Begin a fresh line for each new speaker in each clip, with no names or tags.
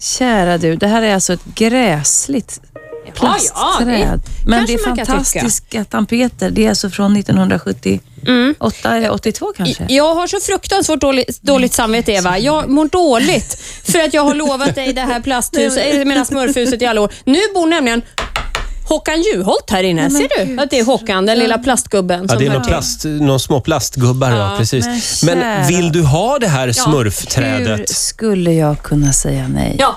Kära du, det här är alltså ett gräsligt
ja, det
plastträd. Men
kanske
det är
man kan tycka.
fantastiska tampeter. Det är alltså från 1978
Mm.
eller 82 kanske.
Jag har så fruktansvärt dåligt, dåligt samvete Eva. Jag mår dåligt för att jag har lovat dig det här plasthuset, eller jag menar smurfhuset i alla år. Nu bor nämligen Håkan Juholt här inne.
men
Ser du?
gud.
Att det är Håkan, den lilla plastgubben.
Ja,
som
det är
hör
någon,
till.
plast, någon små plastgubbar. Ja, precis.
men
Men
kära-
vill du ha det här
Hur
smurfträdet?
skulle jag kunna säga nej?
Ja,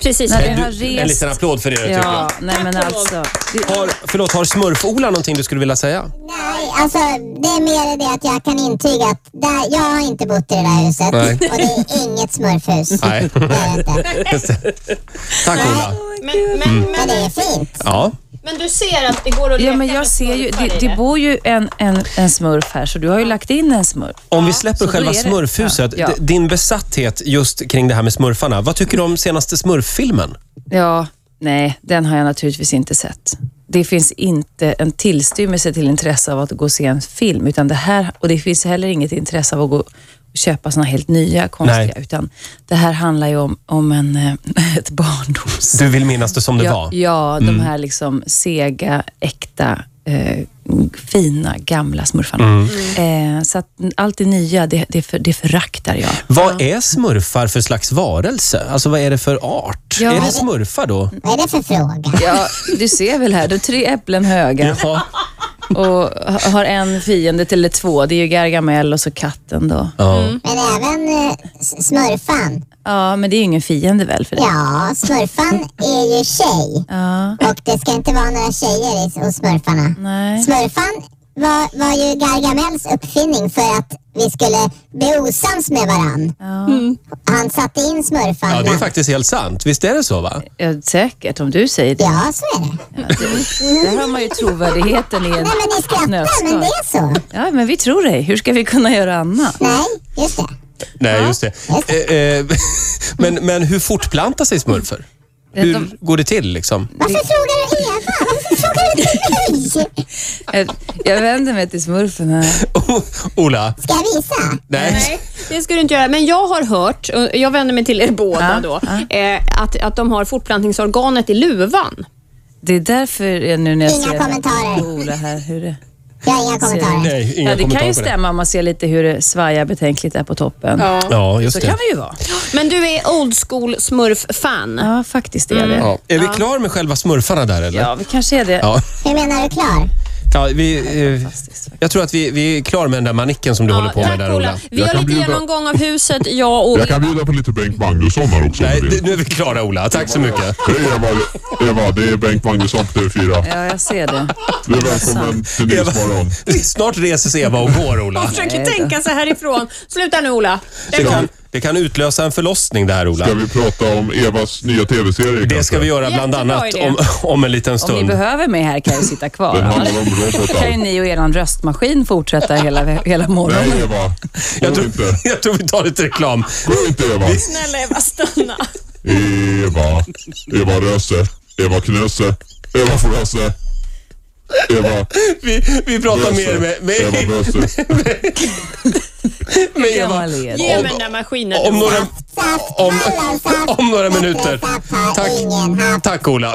precis.
När det
Men
har
Du, en
rest...
liten applåd för det tycker
Ja,
jag.
nej men alltså. Det,
Har, förlåt, har smurf-Ola någonting du skulle vilja säga?
Nej, alltså det är mer det att jag kan intyga att där, jag har inte bott i det där huset.
Nej.
Och det är inget smurfhus.
Nej.
Det är det inte.
Tack Ola.
men, men,
Men
men,
det är fint.
Ja.
men du ser att det går att leka
ja, men
med
jag ser ju,
smurfar
det,
i
det bor ju en, en, en smurf här, så du har ju lagt in en smurf.
Om vi släpper
så då
själva
är det-
smurfhuset.
Ja.
d- Din besatthet just kring det här med smurfarna. Vad tycker du om senaste smurffilmen?
Ja, nej, den har jag naturligtvis inte sett. Det finns inte en tillstymmelse till intresse av att gå och se en film, utan det här, och det finns heller inget intresse av att gå och köpa såna helt nya konstiga,
Nej.
utan det här handlar ju om, om en, eh, ett barndoms...
Du Mm. vill minnas det som det
Ja,
var?
ja de här liksom sega, äkta, eh, fina, gamla smurfarna.
Mm.
Eh, så att allt det nya, det, det, för, det föraktar jag.
Vad är smurfar för slags varelse? Alltså vad är det för art?
Ja.
Är det smurfar då?
Vad är det för fråga?
Ja, du ser väl här, du är tre äpplen höga
Ja.
och ha- har en fiende till eller två. Det är ju Gargamel och så katten då.
Ja.
Men även eh, s- smurfan.
Ja, men det är ju ingen fiende väl för dig?
Ja, smurfan är ju tjej.
Ja,
Och det ska inte vara några tjejer i- hos smurfarna.
nej.
Smurfan var, var ju Gargamels uppfinning för att vi skulle bli osams med varann.
Ja.
Han satte in smurfan.
ja, det är
bland-
faktiskt helt sant. Visst är det så? va?
Ja, säkert, om du säger det.
Ja, så är det.
Där har man ju trovärdigheten i en...
Nej, men ni skrattar, men det är så.
Ja, men vi tror dig. Hur ska vi kunna göra annat?
Nej, just det.
Nej, just det. Eh, eh, men, men hur fortplantar sig smurfer?
De-
Hur går det till liksom?
Varför frågar du Eva? Varför frågar du till mig?
Jag, jag vänder mig till smurfen här.
Ola?
Ska jag visa?
Nej.
Nej, det ska du inte göra. Men jag har hört, och jag vänder mig till er båda
Ja,
då, eh, att, att de har fortplantningsorganet i luvan.
Det är därför jag nu när jag
Inga
ser
kommentarer.
Ola här, hur det...
Jag har inga kommentarer.
Nej, inga
Ja, det kan
kommentarer
ju
på det.
stämma om man ser lite hur det svajar betänkligt där på toppen.
Ja, just
Så
det.
kan det ju vara.
Men du är old school smurf-fan.
Ja, faktiskt är det.
Ja. Är vi klar med själva smurfarna där eller?
Mm. Ja, vi kanske är det.
Ja.
Hur menar du klar?
Ja, vi, eh,
Fantastiskt.
jag tror att vi, vi är klar med den där manicken som du håller på
tack
med där Ola.
Vi
Jag
har
kan
lite
bjuda-
genomgång av huset, jag och
Jag kan bjuda på lite Bengt Magnusson här också. om
Nej,
du vill.
nu är vi klara Ola. Tack så mycket.
Hej Eva, Eva, det är Bengt Magnusson på TV4.
Ja, jag ser det.
Du är välkommen till
Eva,
Nyhetsmorgon.
snart reser sig Eva och går Ola.
Jag försöker tänka sig härifrån. Sluta nu Ola.
Det kan, det kan utlösa en förlossning det här Ola.
Ska vi prata om Evas nya TV-serie
Det ska vi göra bland
Jättebra
annat
idé.
om, om en liten
Om ni
stund.
behöver mig här kan jag sitta kvar.
Den
annars
handlar om
kan ju
robotar.
ni och er röstmaskin fortsätta hela, hela morgonen.
Nej Eva,
Jag
gå
tror,
inte.
jag tror vi tar lite reklam.
Gå inte Eva.
Snälla Eva, stanna.
Eva, Eva Röse, Eva Knöse, Eva Fröse, Eva
Vi, vi pratar mer
Böse,
med,
Eva
med,
Böse.
med Eva
Gammal er.
Ge
Om-
mig den där maskinen.
om några,
Saft,
Om-
hallonsaft,
om några
bättre
minuter.
saft har
Tack.
Ingen haft.
Tack Ola.